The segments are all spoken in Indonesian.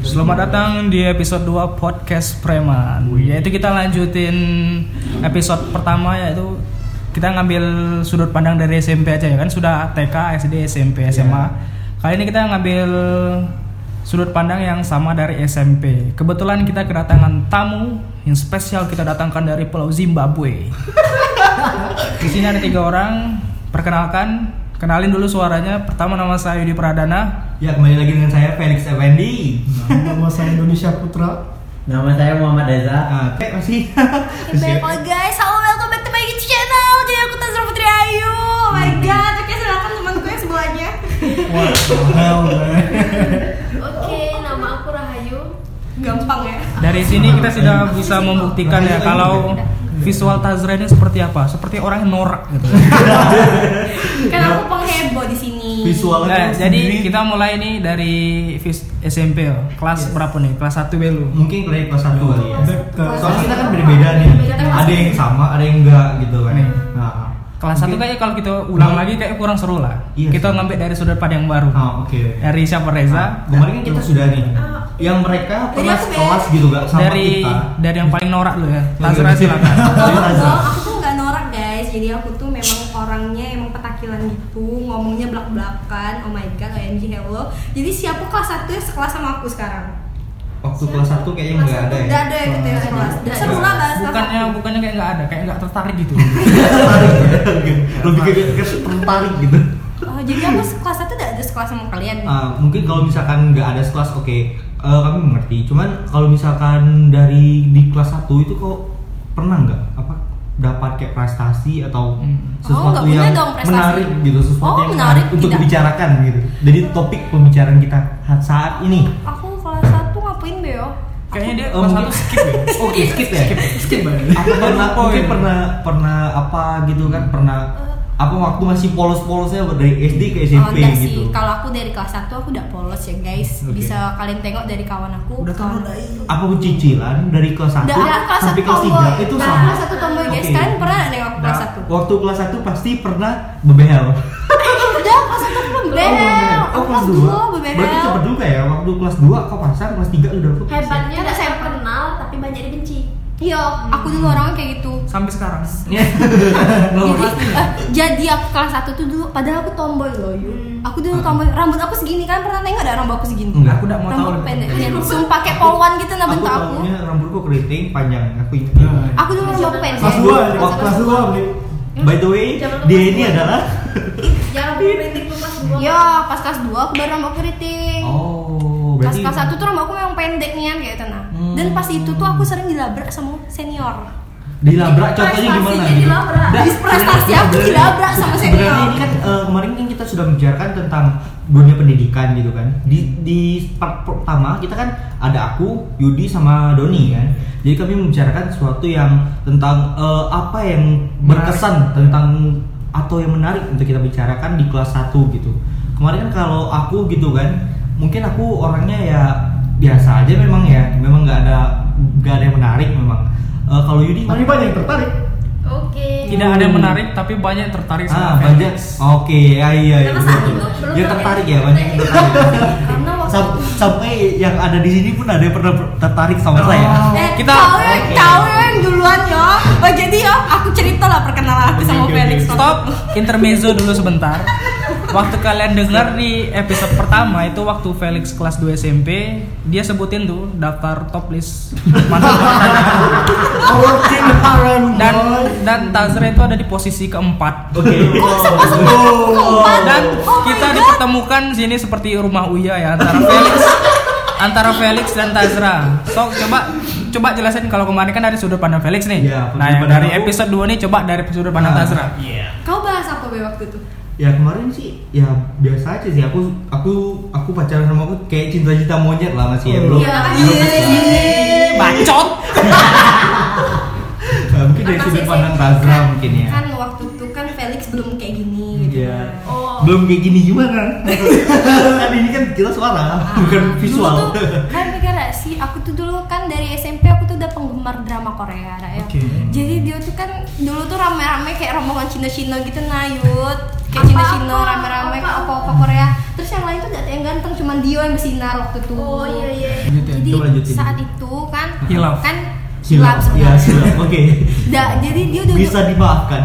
Selamat datang di episode 2 podcast Preman. Yaitu kita lanjutin episode pertama yaitu kita ngambil sudut pandang dari SMP aja ya kan sudah TK, SD, SMP, SMA. Kali ini kita ngambil sudut pandang yang sama dari SMP. Kebetulan kita kedatangan tamu yang spesial kita datangkan dari Pulau Zimbabwe. di sini ada tiga orang. Perkenalkan, kenalin dulu suaranya. Pertama nama saya Yudi Pradana. Ya kembali lagi dengan saya Felix Effendi. Nama saya Indonesia Putra. Nama saya Muhammad Reza. Nah, kayak masih Baik, oh guys, halo welcome back to my YouTube channel Jadi aku Tazra Putri Ayu Oh my god, oke silakan temanku yang sebelahnya Wah, hell, Oke, nama aku Rahayu Gampang ya Dari sini kita sudah bisa membuktikan ya kalau visual Tazra ini seperti apa? Seperti orang yang norak gitu. Kan Iya. aku pengheboh di sini visualnya Nah, tuh jadi Oh, iya, sendiri. kita mulai nih dari vis- SMP ya. Kelas berapa nih? Kelas ya, 1 Belu. mungkin kalian kelas satu kali ya. Betul. Soalnya kita kan berbeda nih. Ada yang sama, ada yang enggak gitu kan. Nih. Nah, Kelas 1 kayaknya kalau kita ulang lagi kayak kurang seru lah. Iya Kita sih. ngambil dari sudut pandang yang baru. ah oke. Dari siapa Nah, Reza? kemarin kan kita sudah nih. Yang mereka pernah aku kelas gitu gak sama Dari kita. Iya, dari yang paling norak dulu ya. Yang Tazra dari- silakan. Dari Tolong Azra. dong, aku tuh nggak norak guys Jadi aku tuh memang orangnya emang petakilan gitu Ngomongnya belak-belakan Oh my god, OMG hello Jadi siapa kelas 1 yang sekelas sama aku sekarang? Waktu kelas satu kayaknya enggak ada ya. Gak ada yang gitu ya sekelas Seru lah bahas Bukannya bukannya kayak nggak ada, kayak nggak tertarik gitu. Lebih kayak kayak tertarik gitu. Oh, jadi aku sekelas satu gak ada sekelas sama kalian Ah, mungkin kalau misalkan nggak ada sekelas oke eh, kami mengerti cuman kalau misalkan dari di kelas 1 itu kok pernah nggak apa dapat kayak prestasi atau Hmm. Oh, nggak sesuatu punya yang dong prestasi. menarik gitu sesuatu Oh, yang menarik, untuk tidak. dibicarakan gitu jadi topik pembicaraan kita saat ini Aku kelas satu ngapain beo? Kayaknya dia Eh, kelas mungkin- 1 skip ya. oke skip ya Skip apa pernah Oh, iya. lupa mungkin ya. pernah pernah apa gitu kan pernah apa waktu masih polos-polosnya dari SD ke Eh. Oh, SMP enggak gitu sih. Kalau aku dari kelas 1 aku udah polos ya, guys. Oke. Bisa kalian tengok dari kawan aku. Udah kawan tahu dah. apa cicilan dari kelas 1 Udah, aku sampai kelas satu kelas 3 tomboy. itu Nah, sama kelas satu tomboy, guys. Oke. Kalian pernah nggak nengok kelas Nah, satu? waktu kelas 1 pasti pernah bebel Oh, Udah, kelas 1 aku bebel. Aku kelas 2 dua. bebel. berarti cepet juga ya waktu kelas 2 kau pasang kelas 3 udah ya? aku pasang. Hebatnya udah saya kenal tapi banyak dibenci. Iya, aku dulu orangnya kayak gitu. Sampai sekarang. Jadi, eh, jadi aku kelas 1 tuh dulu padahal aku tomboy loh, Yu. Hmm. Aku dulu tomboy, rambut aku segini. Kalian pernah tengok enggak rambut aku segini? Ah. Enggak. Iya. Aku nggak mau tahu. Rambut lebih. pendek. Ya, Sumpah kayak polwan gitu nah aku bentuk aku. taunya rambutku keriting panjang aku ingat Aku dulu rambut pendek. Kelas dua, ya, kelas dua beli. by the way Jangan dia lupa ini semua. adalah Jangan berpendek lu pas gua. Yo, Iya, pas kelas 2 aku baru rambut keriting. oh Pas berarti Hmm. kelas 1 tuh rambut aku memang pendek nian kayak itu nah. Dan pas itu tuh aku sering dilabrak sama senior. dilabrak contohnya Prestasinya gimana gitu dilabrak. Dah, Prestasi aku berarti- dilabrak sama senior. berarti ini kan eh, kemarin kan kita sudah membicarakan tentang dunia pendidikan gitu kan di di part pertama kita kan ada aku Yudi sama Doni kan jadi kami membicarakan sesuatu yang tentang eh, apa yang berkesan tentang atau yang menarik untuk kita bicarakan di kelas 1 gitu kemarin kan kalau aku gitu kan mungkin aku orangnya ya biasa aja memang ya memang nggak ada nggak ada yang menarik memang Eh, kalau Yudi Tapi banyak yang tertarik. Oke. Tidak ada yang menarik tapi banyak yang tertarik ah sama banyak Felix. oke ya iya iya Karena saat itu belum dia tahu tertarik ya. ya banyak yang tertarik gitu. Karena waktu Sam- sampai yang ada di sini pun ada yang pernah tertarik sama saya Eh, Kita- kau yang kau ya yang duluan yo. Oh, jadi yo aku cerita lah perkenalan aku sama Oke, oke, Felix. oke. Stop intermezzo dulu sebentar. Waktu kalian dengar di episode pertama itu waktu Felix kelas 2 SMP, dia sebutin tuh daftar top list mantan Working hard dan dan Tazra itu ada di posisi keempat. oke Oh. Oh, Dan Oh, kita dipertemukan sini seperti rumah Uya ya antara Felix antara Felix dan Tazra. So coba coba jelasin kalau kemarin kan dari sudut pandang Felix nih. Iya, nah, yang sudut pandang dari aku. episode 2 nih coba dari sudut pandang Nah. Tazra. Kau bahas apa be waktu itu? ya kemarin sih ya biasa aja sih aku aku aku pacaran sama aku kayak cinta-cinta monyet lah masih ya belum Iya. Ih, Bacot. iya. Nah, mungkin dari Makasih, sudut Shay. pandang Tazra Kan- mungkin ya Kan waktu itu kan Felix belum kayak gini gitu. Iya. Oh, Oh. belum kayak gini gimana kan ini kan kita Ah. suara bukan visual Dulu tuh, kan pikir gak sih, aku tuh dulu kan dari SMP aku tuh udah penggemar drama Korea, Ra, ya. Oke. Jadi dia tuh kan dulu tuh rame-rame kayak rombongan Cino-Cino gitu nah, Yud. Kayak Apa-apa, Cino-Cino rame-rame kayak apa-apa. apa-apa Korea. terus yang lain tuh gak ada yang ganteng cuman Dio yang bersinar waktu itu Oh iya iya. Lanjutin, jadi coba lanjutin. saat itu kan Hilaf. kan Hilaf, hilaf ya sebenarnya hilaf. Oke, Da- jadi dia duduk bisa dimaafkan.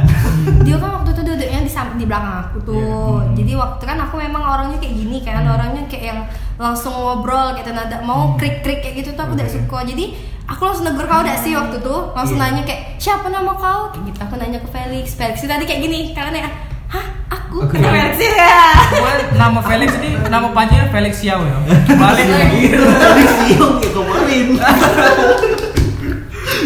dia kan waktu itu duduknya di, sam- di belakang aku tuh Iya. Hmm. jadi waktu kan aku memang orangnya kayak gini kan orangnya kayak yang langsung ngobrol gitu nada mau krik krik kayak gitu tuh aku tidak Oke. suka jadi aku langsung negur kau tidak sih waktu tuh langsung Iya. nanya kayak siapa nama kau kayak gitu aku nanya ke Felix Felix sih tadi kayak gini karena ya hah aku Oke. kata Felix sih ya Gua nama Felix ini nama panjangnya Felix Yao ya. Balik Iya. lagi. Tadi siung kayak kemarin. Iya.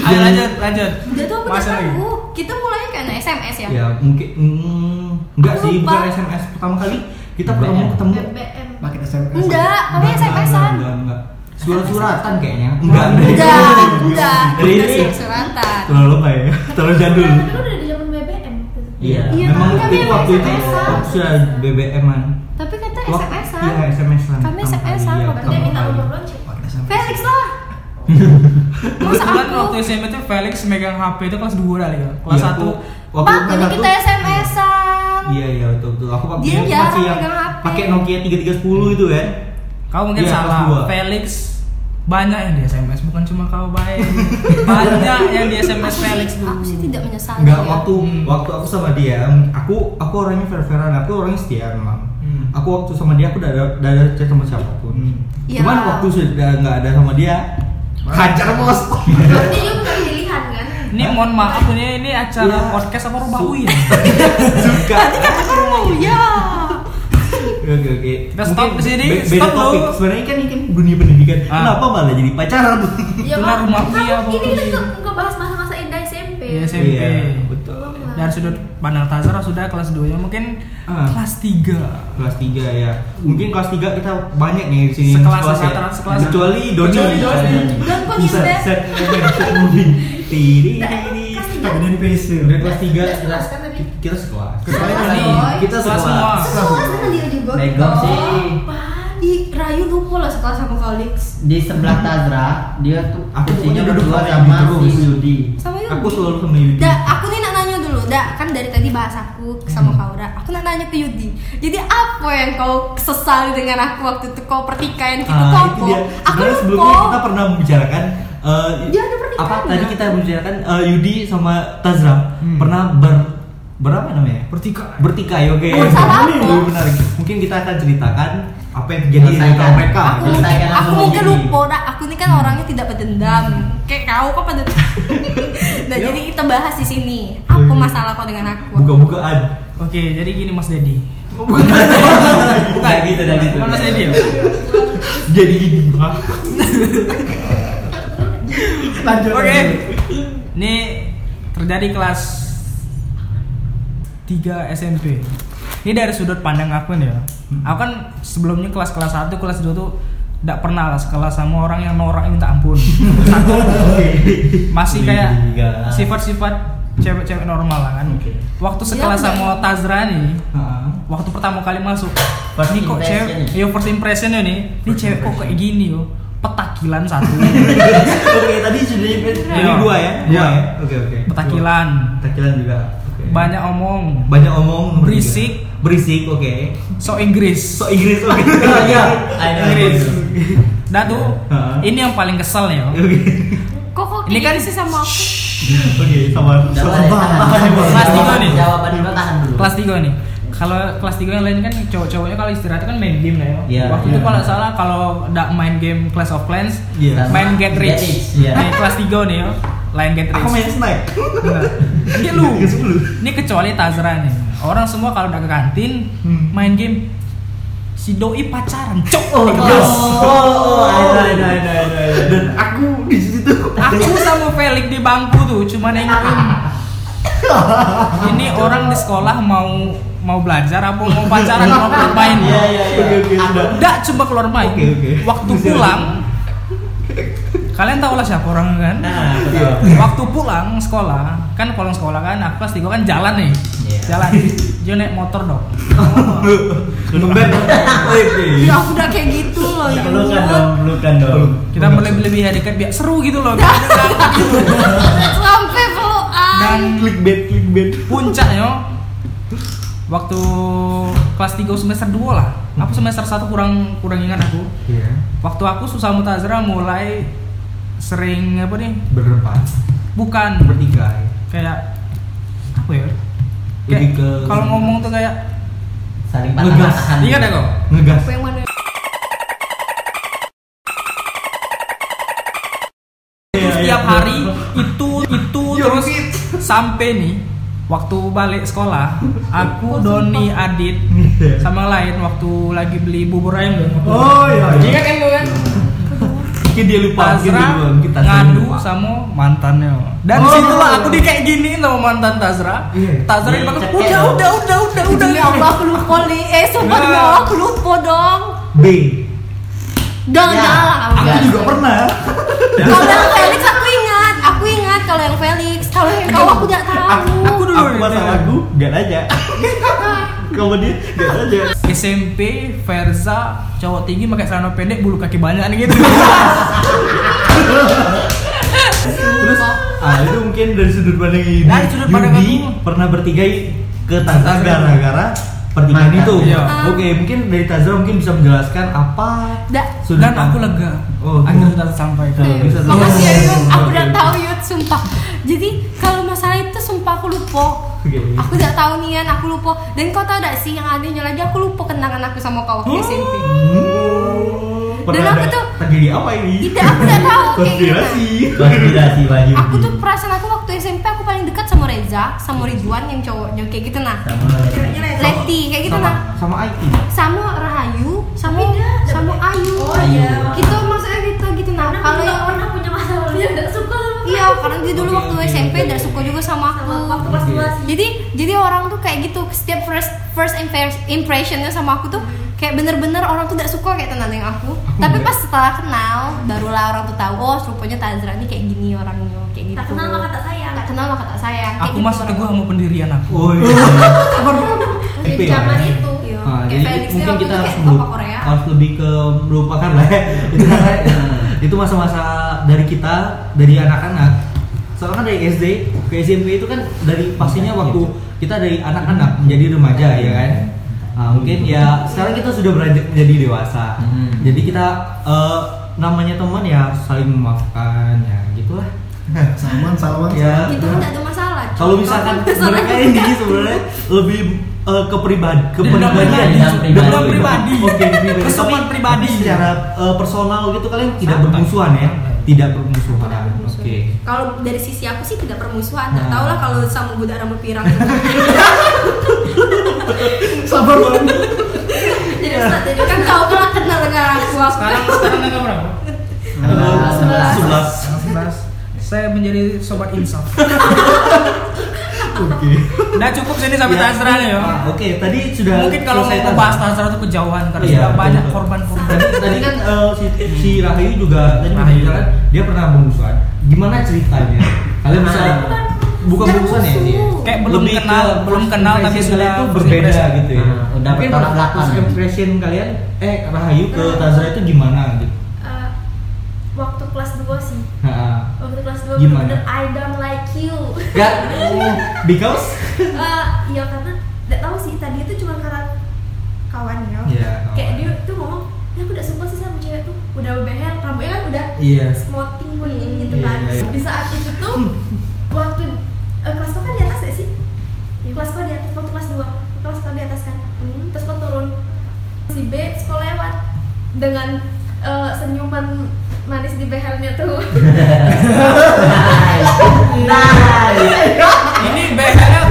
Ayo lanjut, lanjut. dia tuh aku Masih lagi. aku kita mulainya kayak anak SMS ya Ya mungkin mm, enggak Aku sih lupa. bukan SMS pertama kali kita pertama BBM. ketemu BBM. Pakai SMS. enggak kami Enggak, SMS-an enggak, enggak. Surat-suratan kayaknya. Enggak, enggak enggak Jadi kita ini- surat-suratan Terlalu lama ya, terlalu jadul. Tapi lu udah di zaman BBM. Iya, Iya, memang kan itu kami waktu itu SMS-an. sudah BBM-an. tapi kata Wah, SMS-an Iya, SMS-an. Pertama Kami kali, SMS-an, iya, Berarti dia minta pertama nomor kali. lonceng. Pakai SMS. Iya, Felix lah. Masa Kebetulan aku? waktu SMP tuh Felix megang HP itu kelas 2 kali ya. Kelas Iya, 1. aku- waktu Pak, jadi kelas kita satu- SMS-an. Iya iya betul betul. Aku pakai Dia aku jarang masih yang pegang HP. pakai Nokia 3310 itu kan. Kau mungkin Iya, kelas salah. dua. Felix banyak yang di SMS bukan cuma kau baik. banyak yang di SMS Aku sih- Felix tuh. Aku sih tidak menyesali. Enggak ya. waktu Hmm. waktu aku sama dia, aku aku orangnya fair-fairan, aku orangnya setia memang. Hmm. Aku waktu sama dia aku udah ada udah ada chat sama siapapun. Hmm. Iya. Cuman waktu sudah nggak ada sama dia, hajar bos. Berarti dia bukan pilihan kan? Ini mohon maaf ini ini acara Iya. podcast apa rumah Su- Uin? Juga. Oh ya. Oke oke. Kita Nah, Mungkin stop di sini, be- Beda stop dulu. topik. Sebenarnya kan ini kan dunia pendidikan. Ah. Kenapa malah jadi pacaran? Itulah rumah dia, Iya, kan? Kamu ini pokoknya. kita nggak bahas masa-masa indah SMP. Iya, SMP. Iya, betul. Dan sudut pandang Tazara sudah kelas 2 nya mungkin Ah. kelas 3. kelas 3 ya mungkin kelas 3 kita banyak nih di sini Sekelas, sekelas ya. sekelas, sekelas. kecuali Doni Kecuali Doni. Dan kok Bisa, nyender? set set, set, moving. Tiri, tiri. Pakai dari PC. Udah kelas 3 Kita kita sekelas kan tadi? kita sekelas Kelas Nih, doi. kita kelas sekelas semua. Sekelas sama dia juga. Nego sih. Apaan? Ih, Rayu lupa loh sekelas sama Felix. Di sebelah Tazra, dia tuh Aku kursinya pokoknya duduk berdua paling sama terus. si Yudi. Sama Yudi. aku selalu sama Yudi Da, aku nih nak nanya dulu. Da, kan dari tadi bahas aku sama Hmm. Kaura. Aku nak nanya ke Yudi. Jadi apa yang kau sesali dengan aku waktu itu kau pertikaian gitu Ah, kau? itu apa? dia. Aku Sebenarnya sebelumnya kita lupa. pernah membicarakan eh, Dia ada pernikahan, apa tadi ya? kita membicarakan eh, Yudi sama Tazra Hmm. pernah ber berapa namanya Bertikai. bertikai oke Bukan Oh, salah aku. Iya, benar mungkin kita akan ceritakan apa yang terjadi di antara Selesaikan. mereka aku kan? Kita mungkin ya. akan aku langsung mungkin begini. lupa dah aku ini kan orangnya tidak pedendam kayak kau kok pedendam nah jadi kita bahas di sini apa Hmm. masalah kau dengan aku buka-bukaan Oke, jadi gini Mas Dedi. bukan ya, gitu dan gitu Mas Dedi ya? jadi gini Lanjut. Oke. Ini terjadi kelas 3 SMP. Ini dari sudut pandang aku nih ya. Hmm. Aku kan sebelumnya kelas kelas 1, kelas 2 tuh tidak pernah lah sekelas sama orang yang norak minta ampun. Satu masih kayak Tiga. sifat-sifat cewek-cewek normal lah kan. Oke. Waktu sekelas Iya, sama Tazra nih, waktu pertama kali masuk First ini kok impression cewek ya? yo first impression ya nih ini cewek kok kayak gini yo petakilan satu oke tadi sudah jadi dua ya dua Iya. ya oke oke petakilan petakilan juga oke. banyak omong banyak omong nomor tiga. Berisik. berisik oke so Inggris so Inggris oke Iya, ada Inggris nah tuh Ha. ini yang paling kesel ya oke kok kok Ini ini kan- kan sih sama aku oke sama Jangan, sama jangan. Kelas tiga nih. Jawaban dulu tahan dulu. kelas 3 nih kalau kelas 3 yang lain kan cowok-cowoknya kalau istirahat kan main game lah ya. Iya, Waktu iya. itu kalau nggak salah kalau nggak main game Clash of Clans, Iya. main Get Rich. Iya. Nah, kelas 3 nih yo, lain Get Rich. aku main snack Nah, Ini lu. Yes, lu. Ini kecuali Tazra nih. Orang semua kalau udah ke kantin Hmm. main game si doi pacaran. Cok. Oh, di kelas. yes. Oh, ada, ada, ada, Dan aku di situ. Aku sama Felix di bangku tuh cuma nengokin. Ini orang di sekolah mau mau belajar apa mau pacaran mau keluar main. Iya, iya, iya. Oke, oke, sudah. Enggak cuma keluar main. Oke, oke. Waktu Bisa. pulang Kalian tau lah siapa orang kan? Nah, aku tahu. waktu pulang sekolah kan pulang sekolah kan aku kelas tiga kan jalan nih Iya. jalan dia naik motor dong Tumben. Oke. ya aku udah kayak gitu loh Iya. ya Pelukan dong, pelukan dong. kita melebih-lebih dekat biar seru gitu loh biar ada- sampai pelukan dan clickbait clickbait. puncaknya waktu kelas 3 semester 2 lah Aku semester 1 kurang kurang ingat aku. Iya. Waktu aku susah mutazara mulai sering apa nih? Berempat, Bukan bertiga. kayak apa ya? Lebih Kayak ke- kalau ngomong tuh kayak Saling Ngegas. patah-patahan. ingat ya kok? Ngegas. Aku yang mana? Iya, Terus tiap hari itu itu terus sampai nih waktu balik sekolah aku Doni Adit Iya. sama lain waktu lagi beli bubur ayam kan waktu- Oh iya. Ingat kan lu kan Mungkin dia lupa, mungkin Tazra dia lupa, mungkin Tazra ngadu lupa. sama mantannya dan Oh. situlah aku di kayak giniin sama mantan Tazra Iya. Tazra Iya, yang bakal cekek. udah udah udah udah udah Ya Allah, aku lupa nih. Eh, sumpah Nah. ya Allah, aku lupa dong. B. Jangan Ya, salah kamu. Aku Ngegas. juga pernah. Kalau yang Ya Felix aku ingat, aku ingat kalau yang Felix, kalau yang kau aku tidak tahu. aku dulu Aku masa lagu gak aja. Kalau dia gak aja. SMP Verza cowok tinggi pakai celana pendek bulu kaki banyak gitu Terus ah itu mungkin dari sudut pandang ini. Dari sudut pandang Yudi aku. pernah bertigai ke Tazra Tazra. gara-gara pertigaan Mantan, itu. iya. Ah. Oke, mungkin dari Tazra mungkin bisa menjelaskan apa Dah. sudut dan aku pandang- lega Oh, akhirnya sampai Iya. Nah, Tuh, Iya. bisa tuh. Makasih ya Yud, aku Oke. tidak tahu Yud, sumpah Jadi kalau masalah itu sumpah aku lupa Iya, Oke. Aku tidak tahu nian, aku lupa Dan kau tahu tidak sih yang anehnya lagi aku lupa kenangan aku sama kau waktu SMP Oh. Hmm. Pernah Dan aku ada- tuh- terjadi apa ini? Tidak, aku tidak tahu kayak Konspirasi. gimana Konspirasi wajib. Aku tuh perasaan aku waktu SMP aku paling dekat sama Reza, sama Ridwan yang cowoknya kayak gitu nah Sama. Leti kayak gitu sama, nah sama IT. sama Rahayu, sama Beda, sama beda. Ayu. Oh iya. Kita maksudnya gitu gitu nah. Karena Kalau kalau yang pernah punya masa lalu yang nggak suka sama iya, karena dia dulu Oke, waktu oke, SMP oke. udah suka juga sama aku. sama waktu Iya. pas dua sih. Jadi jadi orang tuh kayak gitu setiap first first impre- impressionnya sama aku tuh kayak bener-bener orang tuh gak suka kayak tentang yang aku. Tapi pas setelah kenal barulah orang tuh tahu oh rupanya Tazra ini kayak gini orangnya kayak gitu. Tak kenal maka tak sayang. Tak kenal maka tak sayang. Kayak aku gitu masuk ke orang. gua sama pendirian aku Oh iya. Jadi Itu ya? zaman itu. Iya. Ah, Kayak jadi Felix mungkin waktu kita itu harus, kayak melu- apa Korea. harus lebih ke melupakan lah ya. itu nah, itu masa-masa dari kita dari anak-anak soalnya kan dari SD ke SMP itu kan dari pastinya waktu kita dari anak-anak menjadi remaja ya kan Ah, mungkin ya Iya. sekarang kita sudah beranjak menjadi dewasa Hmm. jadi kita eh, namanya teman ya saling memaafkan ya gitulah Salman, Salman. ya Itu nggak ada masalah. cuy. kalau misalkan Masalah mereka ini sebenarnya lebih eh, ke pribadi ke Dendam pribadian pribadi. Dendam pribadi. oke pribadi. Kesumat Tapi- pribadi. tapi secara eh, personal gitu kalian tidak Santai. bermusuhan ya tidak bermusuhan Tidak oke bermusuhan. Kalau dari sisi aku sih tidak permusuhan. Nggak Nah. tahu lah kalau sama budak rambut pirang. Sabar banget. jadi Ustaz, jadi kan kau pernah kenal dengan aku. sekarang sekarang tanggal berapa Sebelas, sebelas. sebelas Sekarang 11. saya menjadi sobat insaf oke Nah cukup sini sampai Ya. Tazra nih ya. Ah, oke tadi sudah Mungkin kalau selesai mau tadi. bahas Tazra tuh kejauhan karena Iya, sudah banyak betul. korban-korban. Hmm. tadi, tadi kan eh, si, si Rahayu juga tadi Rahayu. menjelaskan dia pernah bermusuhan gimana ceritanya kalian bisa Nah. Bukan. bukan bermusuhan ya dia? Kayak belum Lebih kenal, ke belum first kenal tapi impression sudah kalian tuh first ya. berbeda impression. gitu ya. Nah, udah Mungkin bertolak first belakang. impression kalian eh Rahayu ke Tazra itu gimana gitu. Eh, waktu kelas 2 sih. Heeh. Waktu kelas 2 Gimana? bener-bener I don't like you. Gak Ya, because Eh, iya karena nggak tahu sih tadi itu cuma karena kawan ya Iya, kayak kawan. dia tuh ngomong ya aku udah suka sih sama cewek tuh udah behel rambutnya kan udah Iya. smoking kuning gitu Iya, kan iya. di saat itu tuh waktu eh, kelas kau kan di atas ya sih Di kelas kau di atas waktu kelas 2 kelas kau di atas kan Hmm, terus kau turun si B sekolah lewat dengan eh, senyuman manis di behelnya tuh Ini BL-nya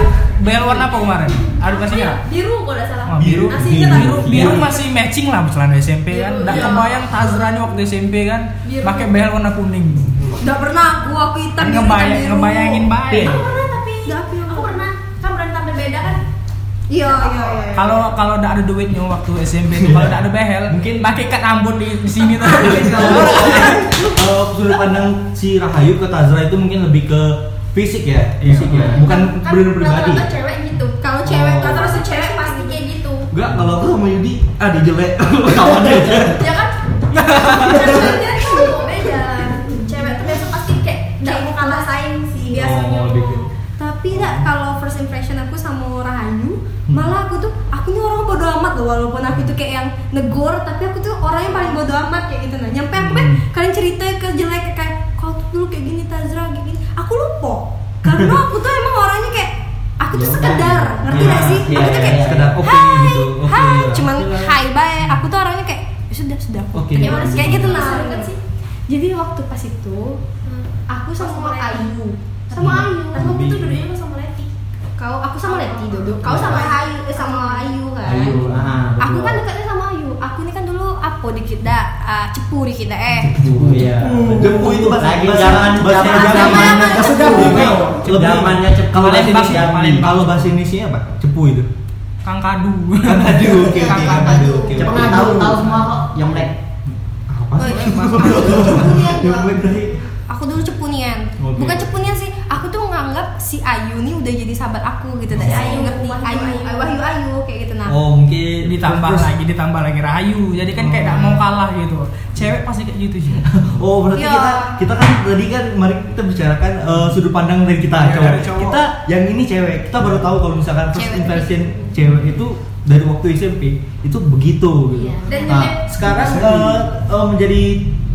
BL warna apa kemarin? Aduh kasih ya. biru kalau nggak salah Oh, biru. Masih ingat aku. Biru, Iya. biru masih matching lah celana SMP kan. Biru, Nggak iya. kebayang Tazra nih waktu SMP kan Biru. pakai BL warna kuning. Udah pernah aku aku hitam gitu kan, biru, Ngebayang, hitam biru. ngebayangin baik. Iya. Aku pernah tapi Nggak, aku yang- aku pernah kan berani tampil beda kan Iya, iya, iya. Kalau kalau nggak ada duitnya waktu SMP tuh kalau nggak ada BL mungkin pakai ikat rambut di, di sini tuh. Eh, sudut pandang si Rahayu ke Tazra itu mungkin lebih ke fisik ya, Iya. fisik ya, bukan kan benar pribadi. rata-rata cewek gitu Kalau cewek Oh. kan terus terus cewek pasti kayak gitu Enggak, kalau aku sama Yudi, ah dia jelek, kawannya aja. ya kan Ceweknya tuh beda cewek tuh biasa pasti kayak nggak mau kalah saing sih biasanya Oh, lebih ke- tapi enggak Hmm. kalau first impression aku sama Rahayu malah aku tuh aku nih orang bodo amat loh walaupun aku tuh kayak yang yang negor tapi aku tuh orang yang paling bodo amat kayak gitu nah nyampe aku kan Hmm. kalian cerita ke jelek kayak kau tuh dulu kayak gini Tazra kayak gini aku lupa karena aku tuh emang orangnya kayak aku tuh Iya. Ya udah, sekedar gitu. ngerti gak Iya, sih iya, aku tuh iya, kayak iya. sekedar oke hai gitu oke hai gitu. cuman Oke lah. hai bye aku tuh orangnya kayak "Ya sudah sudah Oke. kayak, kayak gitu nah Sering kan sih? Hmm. jadi waktu pas itu aku sama Sama Ayu Sama Ayu. Tapi aku tuh Bi. dulunya sama Leti. kau aku sama Leti dulu kau sama Ayu eh, sama Ayu kan Ayu, ah, aku berdua. kan dekatnya sama Ayu aku ini kan dulu apa di kita ah, cepu di kita eh Cepu, iya. Debu itu bahasa Lagi bahasa- zaman bahasa zaman Jawa. zaman- bahasa Jawa. Lebih- Zamannya cepu. Kalau bahasa Palembang, Indonesia, Palembang. kalau bahasa Indonesia apa? Cepu itu. Kang Kadu. Aduh, oke oke. Kakak. Aduh, oke. Cepu oke. tahu tahu semua kok yang melek. Apa Oh, sih? iya, Mas. aku dulu cepu nih Yang Kak. melek dari- aku dulu cepunian Oke. bukan cepunian sih aku tuh menganggap si Ayu nih udah jadi sahabat aku gitu dari Ayu ngerti Ayu Ayu Ayu Ayu kayak gitu nah Oh, mungkin ditambah terus- lagi ditambah lagi Rahayu jadi kan kayak gak mau kalah gitu cewek pasti kayak gitu sih Oh berarti Iya. kita kita kan tadi kan mari kita bicarakan eh, sudut pandang dari kita Iya, cowok. dari cowok. Kita yang ini cewek. Kita baru tahu kalau misalkan first Cewek. impression cewek itu dari waktu SMP itu begitu gitu. Iya. Dan Nah, jelek. sekarang eh, eh, menjadi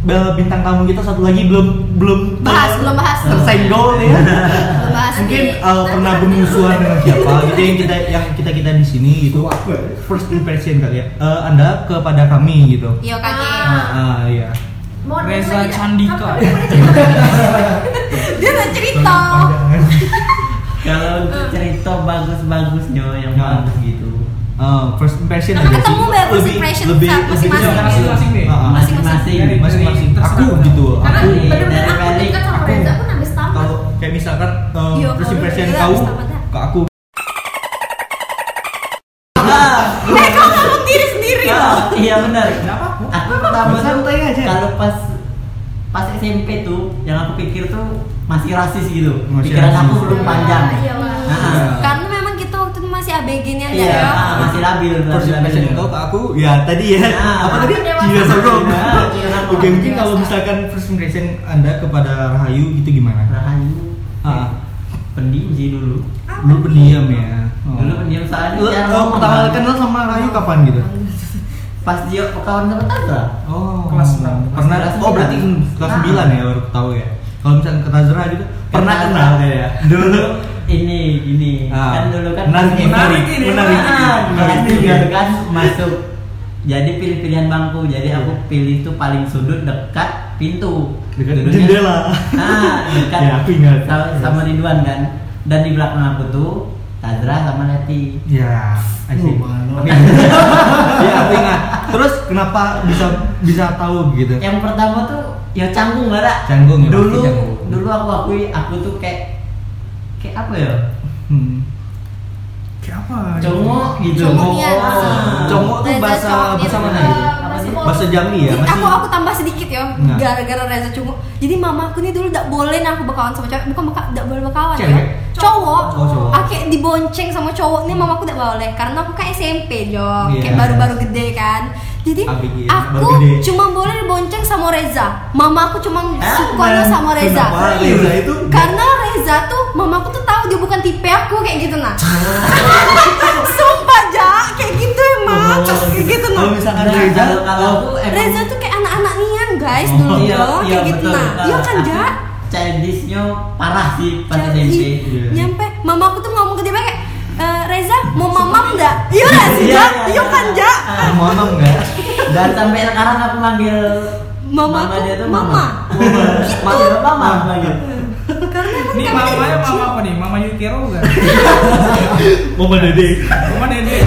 eh, bintang tamu kita satu lagi belum belum Bahas, ter- belum bahas. tersenggol ya. bahas Mungkin nih. eh, pernah bermusuhan dengan siapa gitu yang kita yang kita kita di sini gitu. First impression kali ya. Eh, anda kepada kami gitu. Iya kakek Ah. Ah, iya. Mohon Reza maaf, Leti. Candika. ya? Kamu- kamu pernah cerita? dia nggak cerita Pandangan. Kalau untuk cerita bagus-bagusnya yang Nah. bagus gitu. Uh, first impression aja Tapi sih. ketemu baru first impression sama masing-masing. lebih- Masing-masing deh. Ah, ah. Masing-masing. Dari- masing-masing. Aku gitu. Karena Aku Dari- bener-bener aku dari dekat sama aku. Reza, aku nabis tamat. kalau kayak misalkan um, Iya, first kalau impression gila, kau sama dah. ke aku. eh kau ngomong diri sendiri loh Ah, iya benar. Aku pertama tuh Santai aja. kalau pas pas SMP tuh yang aku pikir tuh masih rasis gitu. Masih Pikiran rasis. aku belum panjang. Ah, Iya, Wak. Ah. karena memang kita waktu itu masih abg nya ya Iya, ah, masih labil. First labil- impression labil. kau ke aku ya tadi Iya, ya. Nah. Apa tadi? Dewasa. Gila sobrol. Nah, gila sobrol. Oke, mungkin kalau iya. Dewasa. misalkan first impression Anda kepada Rahayu itu gimana? Rahayu. Ah. Pendiam Nah, kan, sih dulu. Lu pendiam ya. Oh. Dulu pendiam soalnya Lu jarang oh, ngomong. pertama kali kenal sama Rahayu kapan gitu? Pas dia kawan ah. sama Tazra. Oh, Kelas enam. Pernah Kelas oh berarti sembilan. kelas Nah. 9 ya baru tahu ya. Kalau misalnya ke Tazra gitu, pernah Tazra. kenal ya. Dulu Ini gini. Ah. Kan dulu kan menarik nih, Menarik ini, menarik. Ah, Menarik kelas juga. tiga kan masuk. Jadi pilih-pilihan bangku. Jadi aku pilih tuh paling sudut dekat pintu. Dekat Dulunya- jendela. Ah, dekat. Ya, aku ingat. Sama, sama Ridwan kan. Dan di belakang aku tuh Tazra sama Leti. Ya, I Oh, see. Lumayan. Ya, aku ingat. Terus kenapa bisa bisa tahu gitu? Yang pertama tuh ya canggung lah Ra. Canggung ya, pasti Dulu canggung. dulu aku akui aku tuh kayak kayak apa ya? Hmm. Kayak apa? Congok gitu. Congok, iya, pasti. Ah. ya, Oh, Congok tuh Reza bahasa congok dia bahasa tuh, mana Eh, gitu? Apa masih sih? polos. Bahasa Jambi Iya, ya, Jadi masih. aku aku tambah sedikit ya Nah. gara-gara Reza cunggu jadi mama aku nih dulu gak boleh nah aku berkawan sama cewek bukan bukan gak boleh berkawan Cewek? ya cowok Oh, cowok. Ah, kayak dibonceng sama cowok nih mama aku gak boleh karena aku kan SMP jo Iya. kayak baru-baru gede kan jadi Abg, aku baru gede. cuma boleh dibonceng sama Reza mama aku cuma sukanya sama Reza Ah, nah. Iya. Kan Kenapa Reza itu? karena Reza tuh mama aku tuh tahu dia bukan tipe aku kayak gitu nah sumpah ja kayak gitu emang kayak gitu nah Oh, Kalau misalkan Nah, Reza oh, kalau- kalau aku emang- Reza tuh kayak anak-anak nian guys dulu iya, ya, iya, kayak gitu betul. nah. Iya kan Aku Ja? childish-nya parah sih pas Ja, SMP. i- Iya. Nyampe mama aku tuh ngomong ke dia kayak "E, Reza mau mamam enggak? Iya nggak sih Ja? Iya kan Ja? Ah, mau ngomong enggak? Dan sampai sekarang aku manggil Mama aku, dia tuh Mama. Mama. Manggil mama manggil. Karena emang ini kami mamanya kecil. mama apa nih mama Yukiro kan Mau mendadak. mama dede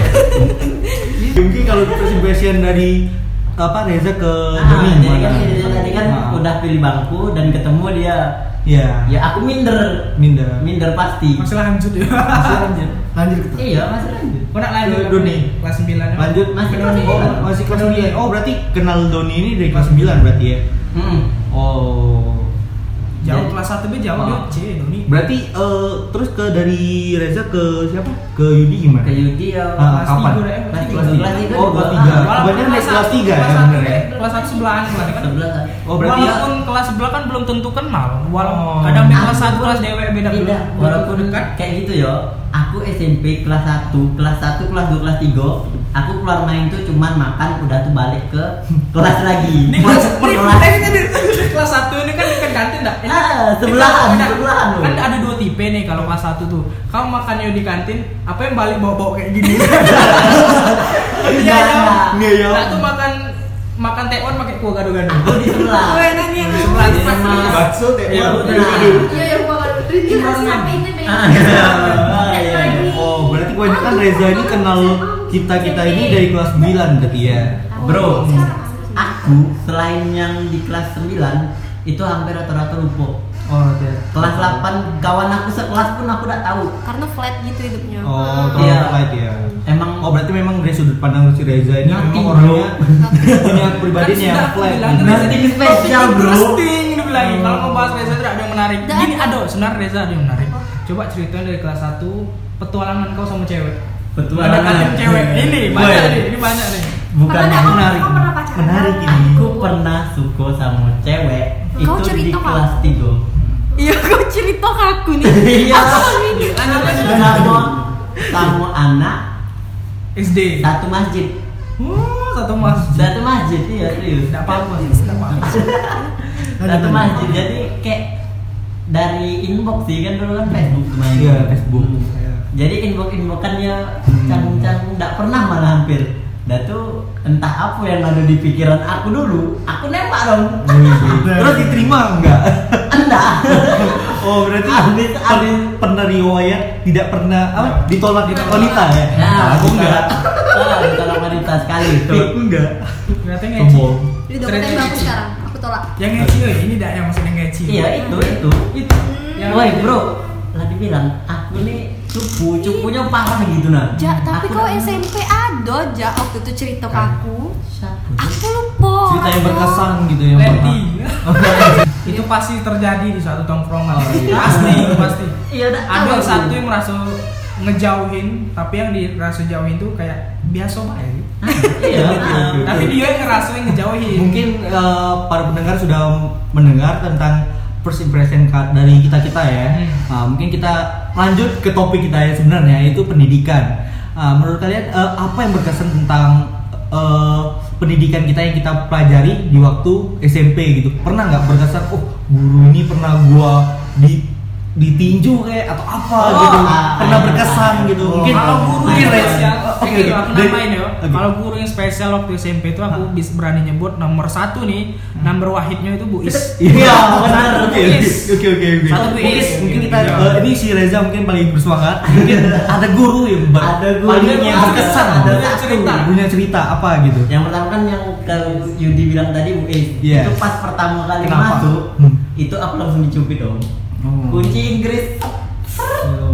Mungkin kalau first impression dari apa Reza ke Ah, Doni jadi kan gimana? gitu. dia tadi kan Ah. udah pilih bangku dan ketemu dia. ya, Ya aku minder, minder. minder pasti. masih lanjut ya Lanjut. Lanjut ke Iya masih lanjut. kau nak lanjut Dulu nih. kelas 9 ya? Lanjut. Masih Doni. kelas Oh, sembilan. masih kelas Oh, 9. Oh, berarti kenal Doni ini dari kelas 9 berarti ya. Hmm. Oh. jauh Jadi- kelas 1 B jauh dia Ah. C Doni Berarti eh, terus ke dari Reza ke siapa? Ke Yudi gimana? ke Yudi ya Ah, kelas kapan? tiga, ya. Kelas tiga. Kelas tiga. Oh, kelas Kelas tiga. tiga. Kebanyakan naik kelas tiga ya kelas sebenarnya. ya? satu- kelas satu sebelahan kan kan sebelah kan Oh, berarti ya- walaupun kelas sebelah kan belum tentu kenal walaupun Oh. kadang di kelas satu kelas dewe beda tidak beda- Iya, walaupun beda- kan kayak gitu ya aku SMP kelas 1 kelas 1 kelas 2 kelas 3 aku keluar main tuh cuman makan udah tuh balik ke kelas lagi ini kelas ini Kelas- kita di- kelas satu ini kan dekat kantin enggak Ah, sebelahan, sebelahan loh. kan ada dua tipe nih kalau kelas satu tuh kamu makannya di kantin apa yang balik bawa bawa kayak gini iya Enggak, enggak. Iya, ya iya. Nah, satu makan makan tekon pakai kuah gado-gado aku di sebelah Oh, enaknya. Di sebelah di Pas- sebelah. Bakso Iya, tekor. bener. Iya yang gua kalau itu dia harus Gimana? sampai ini Bang. Ah, Dan iya. lagi. Oh, berarti kebanyakan Reza ini kenal kita-kita ini dari kelas 9 berarti Iya. ya. Bro. Sekarang. Ah, aku selain yang di kelas 9 itu hampir rata-rata lupa Oh, oke. kelas 8 kawan aku sekelas pun aku udah tahu karena flat gitu hidupnya Oh, kalau Iya. terkait ya. emang Oh, berarti memang dari sudut pandang si Reza ini Nothing, memang bro. orangnya punya pribadinya Kan yang sudah aku flat. bilang tuh, Nah, Reza. nothing spesial bro Roasting dia bilang Hmm. kalau ngebahas Reza tidak ada yang menarik. Dan- Gini aduh, sebenarnya Reza ada yang menarik. Coba ceritain dari kelas 1 petualangan kau sama cewek. Petualangan. Pendekatan cewek. Ini Woi. banyak nih, ini banyak nih. bukan Pernah yang kamu- menarik kamu pernah pacaran? Iya. Menarik ini. aku pernah suko sama cewek Kau itu di cerita, Kak. kelas 3 iya kau cerita ke aku nih Iya. aku ini sama sama anak SD. satu masjid Uh, satu mas. satu masjid iya serius Enggak apa-apa, enggak apa-apa. satu masjid jadi kayak dari inbox sih kan dulu kan Facebook tuh main Iya, Facebook. Hmm. jadi inbox inboxannya cang-cang nggak pernah malah hampir dan tuh entah apa yang ada di pikiran aku dulu aku nembak dong Terus diterima enggak? enggak Oh, berarti Habis- per- habis. pernah riwayat tidak pernah apa? Ditolak ditolak wanita ya? nah aku enggak. kalau wanita sekali Ditolak aku enggak. Ternyata ngeci. Sombong. udah aku tembak aku sekarang aku tolak Yang ngeci woy. ini tidak yang maksudnya ngeci. iya itu itu Itu. Yang Woi bro, lagi bilang aku nih cupu, cupunya parah gitu nah. Ja, tapi Aku kau dah- SMP ada ja waktu itu cerita ke aku. Siapa? Aku lupa. Kan. Cerita yang orangnya. berkesan gitu yang Lady. pernah. itu pasti terjadi di suatu tongkrongan. Oh, Pasti, pasti. Iya udah. ada tahu. satu yang merasa ngejauhin tapi yang dirasa jauhin tuh kayak biasa baik Iya. Iya. tapi dia yang ngerasa yang ngejauhin Mungkin eh, para pendengar sudah mendengar tentang first impression ka- dari kita kita ya. Hmm. Ah, mungkin kita lanjut ke topik kita ya sebenarnya yaitu pendidikan. Ah, menurut kalian eh, apa yang berkesan tentang eh, pendidikan kita yang kita pelajari di waktu SMP gitu? Pernah nggak berkesan? Oh guru ini pernah gua di ditinju kayak atau apa Oh, gitu? ah, Pernah ah, berkesan ah, gitu? ah. mungkin Oh. kalau guru mungkin yang Res- spesial Oke, oke oke. aku Dari- namain ya oke. kalau guru yang spesial waktu SMP itu aku bisa berani nyebut nomor satu nih Hmm. nomor wahidnya itu Bu Is Iya, benar. Oke, Yes. oke, oke. oke. Satu Mungkin- yes. Mungkin kita Iya. eh, ini si Reza mungkin paling bersemangat. Mungkin ada guru yang ber- Ada guru. paling yang Ada- berkesan. ada satu. Punya cerita apa gitu? Yang pertama kan yang kalau Yudi bilang tadi Bu Is, Iya. itu pas pertama kali Kenapa? masuk, Hmm. itu aku langsung dicubit dong. Kunci Inggris. Oh,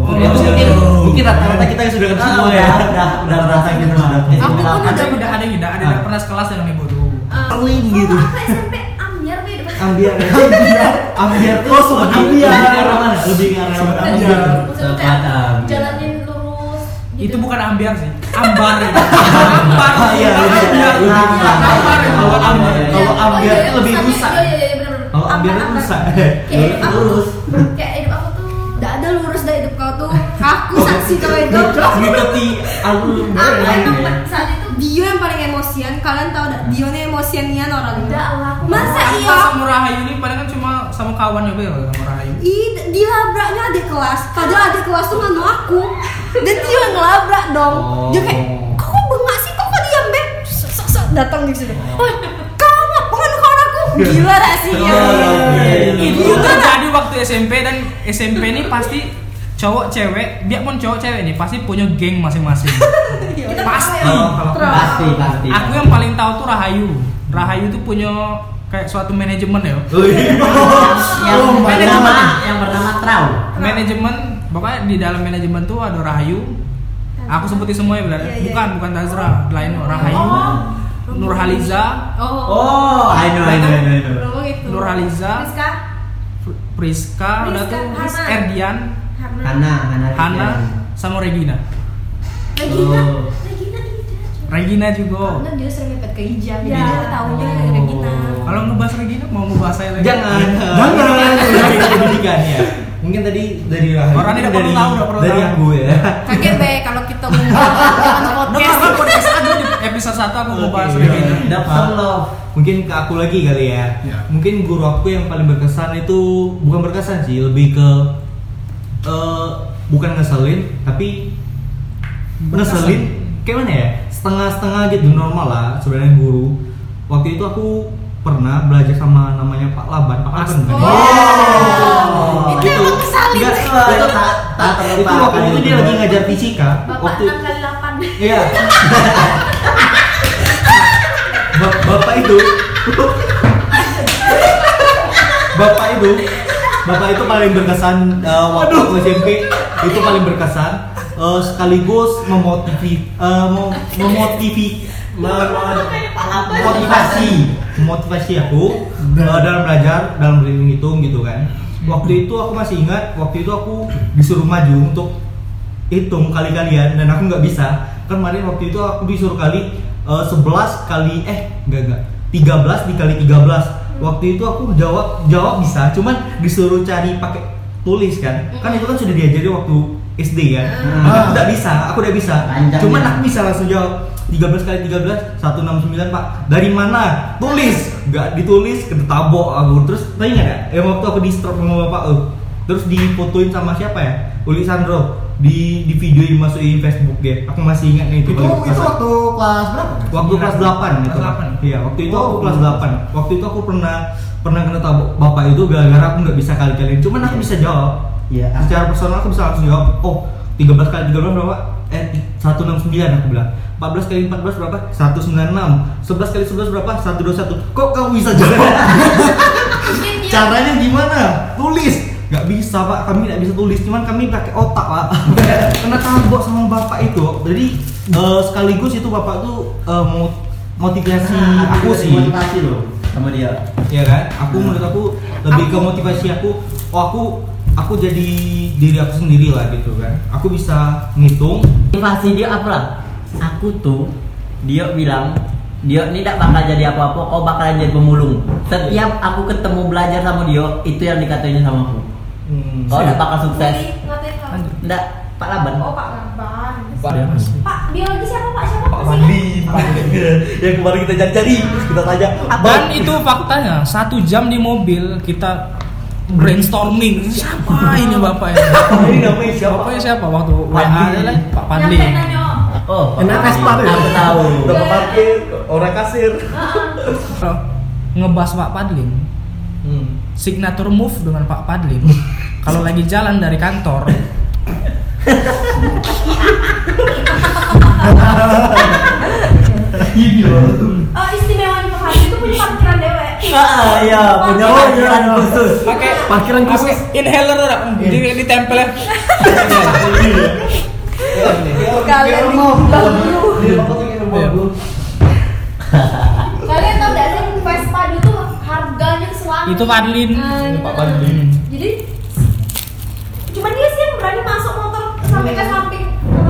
Oh, mungkin oh. mungkin rata-rata kita yang sudah Ah, ketemu udah, ya. udah, udah merasa gitu lah. Aku pun ada udah yang udah ada yang udah ada yang pernah sekelas yang ibu tuh Eh, Perling kalau gitu. Aku SMP ambiar nih depan. Ambiar, ambiar, ambiar. Oh, sobat ambiar. Lebih ke arah mana? Lebih ke arah Sobat ambiar. ambiar. Maksudnya Tepat kayak ambiar. jalanin lurus. gitu. itu bukan ambiar sih ambar ya. ambar Ah, iya, iya, iya. bukan ambiar. Lebih ke arah Ambar ya, Kalau bukan ambar. ambiar, kalau Oh, ambiar iya, itu lebih iya, rusak. Iya iya iya benar. Kalau ambiar itu rusak. Kayak hidup aku Lurus. kayak hidup aku tuh Nggak ada lurus dari hidup kau tuh. Aku Oh, saksi kau yang goblok. Ngikuti alur aku emang ya. saat itu Dio yang paling emosian. Kalian tahu nggak? Dio nih emosiannya orangnya. enggak lah aku Masa Tanpa iya? sama Rahayu ini paling kan cuma sama kawan ya Bel sama Rahayu Ih, dilabraknya adik kelas. Padahal adik kelas tuh nganu aku. Dan Dio yang ngelabrak dong. Dia kayak, Oh. kok kau bengak sih? Kok kau diam, Beb? Sok, sok, sok, Datang di situ. "Wah, Kau ngapain kawan aku? Gila ya? rasanya. Iya. Iya, itu terjadi waktu SMP dan SMP ini pasti cowok cewek biarpun cowok cewek nih pasti punya geng masing-masing kita pasti Oh, tahu ya, Pasti, pasti. aku yang paling tahu tuh Rahayu Rahayu tuh punya kayak suatu manajemen ya Oh, iya. yang Oh, pertama, manajemen. yang pertama Trau. manajemen pokoknya di dalam manajemen tuh ada Rahayu aku sebutin semuanya benar Iya, iya. bukan bukan Tazra lain Rahayu Oh. Nurhaliza Oh. Iya. Oh, I know, I know, I know, I know. Ngomong gitu. itu. Oh. Nurhaliza Rizka Pr- Priska, udah Priska, tuh Pris Hana. Erdian, Oh. Karena Hana Hana Hana, sama Regina. Regina, Oh. Regina tidak. Regina juga. Karena dia sering mepet ke hijab, Ya. jadi aku tahunya dari Regina. Oh. Kalau ngebahas Regina mau ngebahas saya lagi. Jangan. Jangan. Jangan pendidikan ya. Mungkin tadi dari Orang ini nggak perlu dari- tahu, nggak perlu dari tahu. yang gue ya. Kaget be kalau kita ngomong Dengar podcast. kan podcast aku di episode 1 aku Oke, ngebahas iya. Regina. Dapet love. Mungkin ke aku lagi kali ya. Ya. Mungkin guru aku yang paling berkesan itu bukan berkesan sih, lebih ke eh, bukan ngeselin tapi ngeselin kayak mana ya setengah-setengah gitu normal lah sebenarnya guru waktu itu aku pernah belajar sama namanya Pak Laban Pak Laban kan? Oh. Oh, Itu emang kesalin Enggak, sih. itu tak- tak itu waktu terlupakan itu dia lagi ngajar fisika Bapak waktu enam kali delapan. iya Bap- bapak itu bapak itu bapak itu paling berkesan eh, waktu aku SMP itu paling berkesan eh, sekaligus memotivi eh, mem- memotivi eh, me- me- motivasi motivasi aku eh, dalam belajar dalam berhitung hitung gitu kan waktu itu aku masih ingat waktu itu aku disuruh maju untuk hitung kali-kalian dan aku nggak bisa kan kemarin waktu itu aku disuruh kali eh, 11 kali eh enggak enggak 13 dikali 13 waktu itu aku jawab jawab bisa cuman disuruh cari pakai tulis kan kan itu kan sudah diajari waktu SD kan Hmm. Nah, aku nggak bisa aku nggak bisa Panjang cuman ya. aku bisa langsung jawab 13 kali 13 169 pak dari mana tulis nggak ditulis ketabok aku terus tanya nggak ya waktu aku di strok sama bapak eh, terus difotoin sama siapa ya Uli Sandro di di video dimasukin Facebook dia aku masih ingat nih Oh, itu Itu paling itu berkesan. waktu kelas berapa? Waktu kelas 8 gitu. Kelas 8. Iya, waktu itu aku Wow. kelas 8. Waktu itu aku pernah pernah kena tabok bapak itu gara-gara aku nggak bisa kali-kali. Cuman aku bisa jawab. Iya. Secara personal aku bisa langsung jawab. Oh, 13 kali 13 berapa? Eh, ti- 169 aku bilang. 14 kali 14 berapa? 196. 11 kali 11 berapa? 121. Kok kamu bisa jawab? Mungkin dia Caranya gimana? Tulis. Gak bisa pak, kami gak bisa tulis, cuman kami pakai otak pak Kena tabok sama bapak itu Jadi eh, sekaligus itu bapak tuh eh, mo- motivasi Nah, aku juga sih motivasi loh sama dia. ya kan aku menurut aku lebih ke motivasi aku oh aku aku jadi diri aku sendiri lah gitu kan aku bisa ngitung Motivasi dia apa lah? Aku tuh dia bilang dia ini tidak bakal jadi apa-apa, kau bakalan jadi pemulung. Setiap aku ketemu belajar sama dia, itu yang dikatainya sama aku. hmm, Kau tidak bakal sukses. Uli, ngatain kamu. Lanjut. Tidak, Pak Laban. Oh Pak Laban. Dia masih. Pak biologi siapa Pak siapa? Pak Masih ingat? Fadli Pak Fadli. yang kemarin kita cari-cari kita tanya Dan itu faktanya satu jam di mobil kita brainstorming siapa ini bapak ini ini namanya siapa bapaknya siapa waktu WA Fadli. adalah Pak Fadli Nyampe nanya. Oh, Pak Enak Laban. Vespa tuh ya? Aku tahu. Berapa parkir orang kasir Kalau ngebahas Pak Padlin Hmm. signature move dengan Pak Padlin kalau lagi jalan dari kantor Oh istimewa di Pak Fadli itu punya parkiran dewek. Ah, iya, punya Parkiran. pikiran khusus. pakai Parkiran khusus. pakai inhaler ada di ditempel ya. Kalian Kalian tau gak sih Vespa dulu tuh harganya selama Itu Fadlin. Pak Fadli. Jadi cuman dia sih yang berani masuk motor sampai ke samping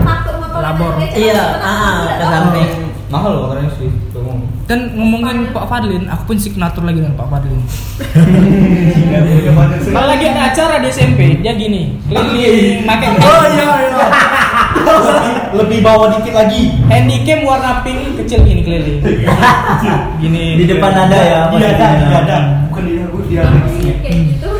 takut motor Labor. Dia cuma Iya, takut, ah, tidak ke tahu. samping. mahal loh orangnya sih ngomong dan ngomongin Pak Fadlin aku pun signature lagi dengan Pak Fadlin kalau lagi ada acara di SMP dia gini keliling pakai oh iya iya lebih bawah dikit lagi handycam warna pink kecil ini keliling gini Di depan ada ya, Iya. Di dada, di dada. Bukan di dagu, dia Jadi kayak gitu.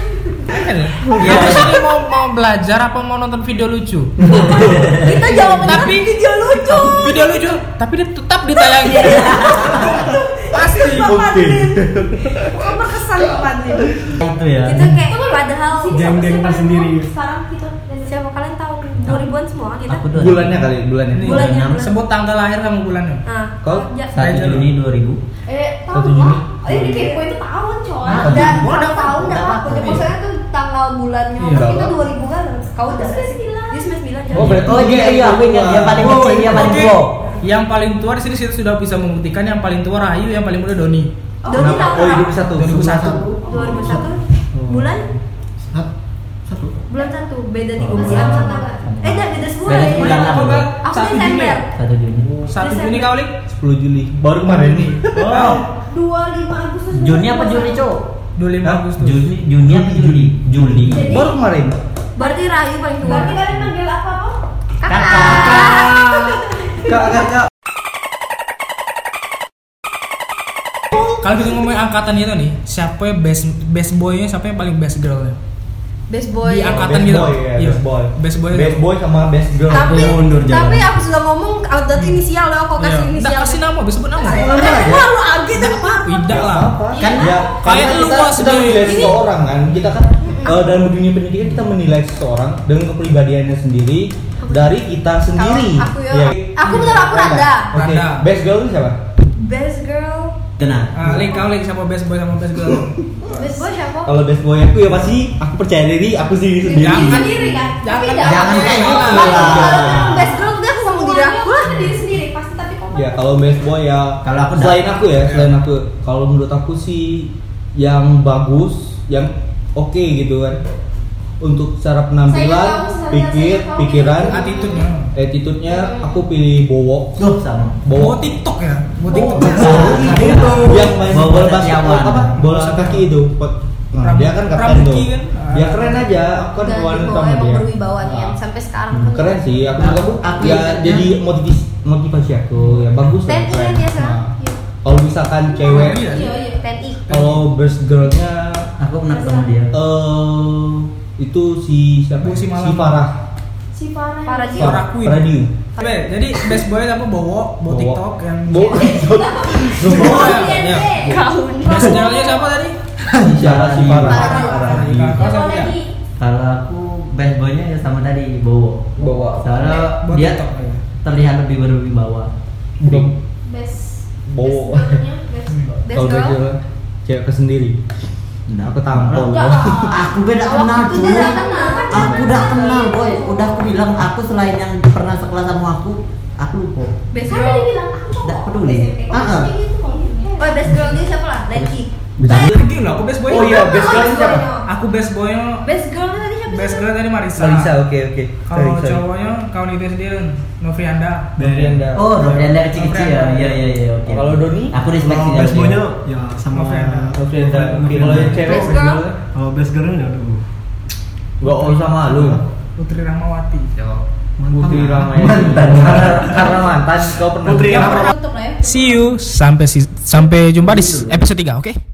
Hmm. ya terus ini mau mau belajar apa mau nonton video lucu kita jawabannya Tapi- kan video lucu. video lucu Iya. tapi dia tetap ditayangin Pasti. Oke. Kamu berkesan Pak Padlin. Itu ya. Itu kayak padahal Geng-geng Siapa- siapa tersendiri. yang tahu Sekarang gitu. Dan siapa kalian tahu 2000-an semua kita. Aku dua. bulannya kali bulannya Nih, Bulannya, enam. bulan. sebut tanggal lahir sama bulannya Nah, Kau? ya. Satu Juni 2000. Eh, Satu tahun Juni. lah. Eh, ini kayak gue itu tahun, coy. Nah, Dan Dan Gua kalau dapat, tahun gua udah dapat. aku udah maksudnya tuh tanggal bulannya Iya. kita 2000 kan kau udah Terus dia bilang. dia semester 9 Oh, berarti- Oh iya iya aku ingat yang paling Oh, kecil yang paling Oke. tua. Yang paling tua di sini sih sudah bisa membuktikan yang paling tua Rahayu, yang Oh, Oh, paling muda Doni. Kenapa? Doni tahun oh berapa? 2001 2001. 2001 bulan bulan satu beda di Oh, kelas bulan sama satu. kakak. eh enggak beda sebulan Beda ya. sebulan lah, aku Bang. Satu Juli Desember ya? Satu Juni. Satu Desember. Juni kau Lik? 10 Juli baru kemarin nih Oh, dua lima Agustus Juni apa Juli cowok? 25 Hah? Agustus. Juni, Juni apa Juli? Juli. Jadi- baru kemarin Berarti Rayu paling tua. berarti kalian manggil apa kok Kakak. kak kak kak Kalau kita ngomongin angkatan itu nih, siapa yang best best boynya, siapa yang paling best girlnya? Best boy. Di Best angkatan gitu. boy, ya, Iya. best boy. Best boy. best boy sama best girl tapi Aku mundur tapi aku sudah Iya, ngomong outdoor inisial loh Oh, aku kasih Iya. Nggak, inisial kasih nama, bisa sebut nama. Kasih Eh, nama aja. wah, lu agit apa Tidak lah. kan Iya. ya, karena Kayak kita, luas kita deh. menilai Ini- seseorang kan kita kan eh, dalam dunia pendidikan kita menilai seseorang dengan kepribadiannya sendiri dari kita sendiri aku ya. Iya. Aku bener, aku Randa. Oke. Randa. best girl itu siapa best girl Tenang. Ah, Lik, kau Lik siapa best boy sama best girl? best boy siapa kalau best boy aku ya pasti aku percaya diri aku sendiri sendiri Jangan. sendiri kan Jangan. tapi Jangan jangan kayak gitu Kalau- lah. kalau emang best girl udah aku sama diri aku lah sendiri sendiri pasti tapi kok ya Iya. kalau best boy ya Kalau aku selain dah. aku Iya. ya selain aku kalau menurut aku sih yang bagus yang oke gitu kan untuk secara penampilan Saya tahu, pikir saya tahu. pikiran Attitude-nya. attitude-nya aku pilih Bowo Duh, sama. Bowo Bawa TikTok ya? Bawa TikTok. yang main Bowo bola dan basket Yawan. apa bola kaki itu Pot- nah, Pramu- dia kan kapten Pramuki tuh kan? dia keren aja aku kan Dan kawan Bowo sama emang dia berwibawa nih yang Nah, sampai sekarang hmm, pun keren sih aku Aku- aku, aku ya ingatnya- jadi motivasi motivasi aku ya bagus lah TNI keren kan dia sekarang Nah, kalau misalkan cewek Iya. iya iya TNI kalau best girlnya Aku pernah ketemu dia. eh itu si siapa Bu, si Malam. si Farah si Farah Farah Jiwa. Farah Queen. Radiu Oke, ya? jadi best boy apa bawa bawa TikTok yang Bowo Oh, Bowo Bowo ya? Iya. Kaun. Best girlnya siapa tadi? si Farah si Farah Farah. Kakak Kalau siapa ya? lagi Kalau aku best boy-nya ya sama tadi, Bowo. Bowo Soalnya Bawa dia TikTok ya. terlihat lebih berwibawa. belum best Bowo. best girl-nya, best girl. Best kalau dia girl. cewek- cewek ke sendiri Nah, aku tampol Enggak lah. Aku beda Waktu kenal itu cuy. dia udah kenal. Aku udah kenal boy. Udah aku bilang aku selain yang pernah sekelas sama aku, aku lupa. Best Kan dia girl. bilang aku Nggak kok peduli. SMP. Ah, ah. Pasti gitu kok. Oh, best girl dia siapa lah? Lagi. Lagi lah, aku best boy. oh iya best girl Best siapa boy-nya. Aku best boynya Best girl tadi siapa? best girl tadi Marisa. Salisa oke oke Kalau cowoknya kawan itu sendiri, Novrianda. Novrianda Oh, Rodianda kecil-kecil ya. Iya iya iya oke. Kalau Doni? aku respect Kalau sih. best dia. boy-nya ya sama Novena. Novrianda oke kalau yang cewek best Best girl. girl-nya? Kalau best girl-nya aduh. gak usah malu Putri Ramawati. Putri Ramaya Mantan. karena mantan kau pernah Putri Tutup lah ya. See you sampai sampai jumpa di episode 3, oke?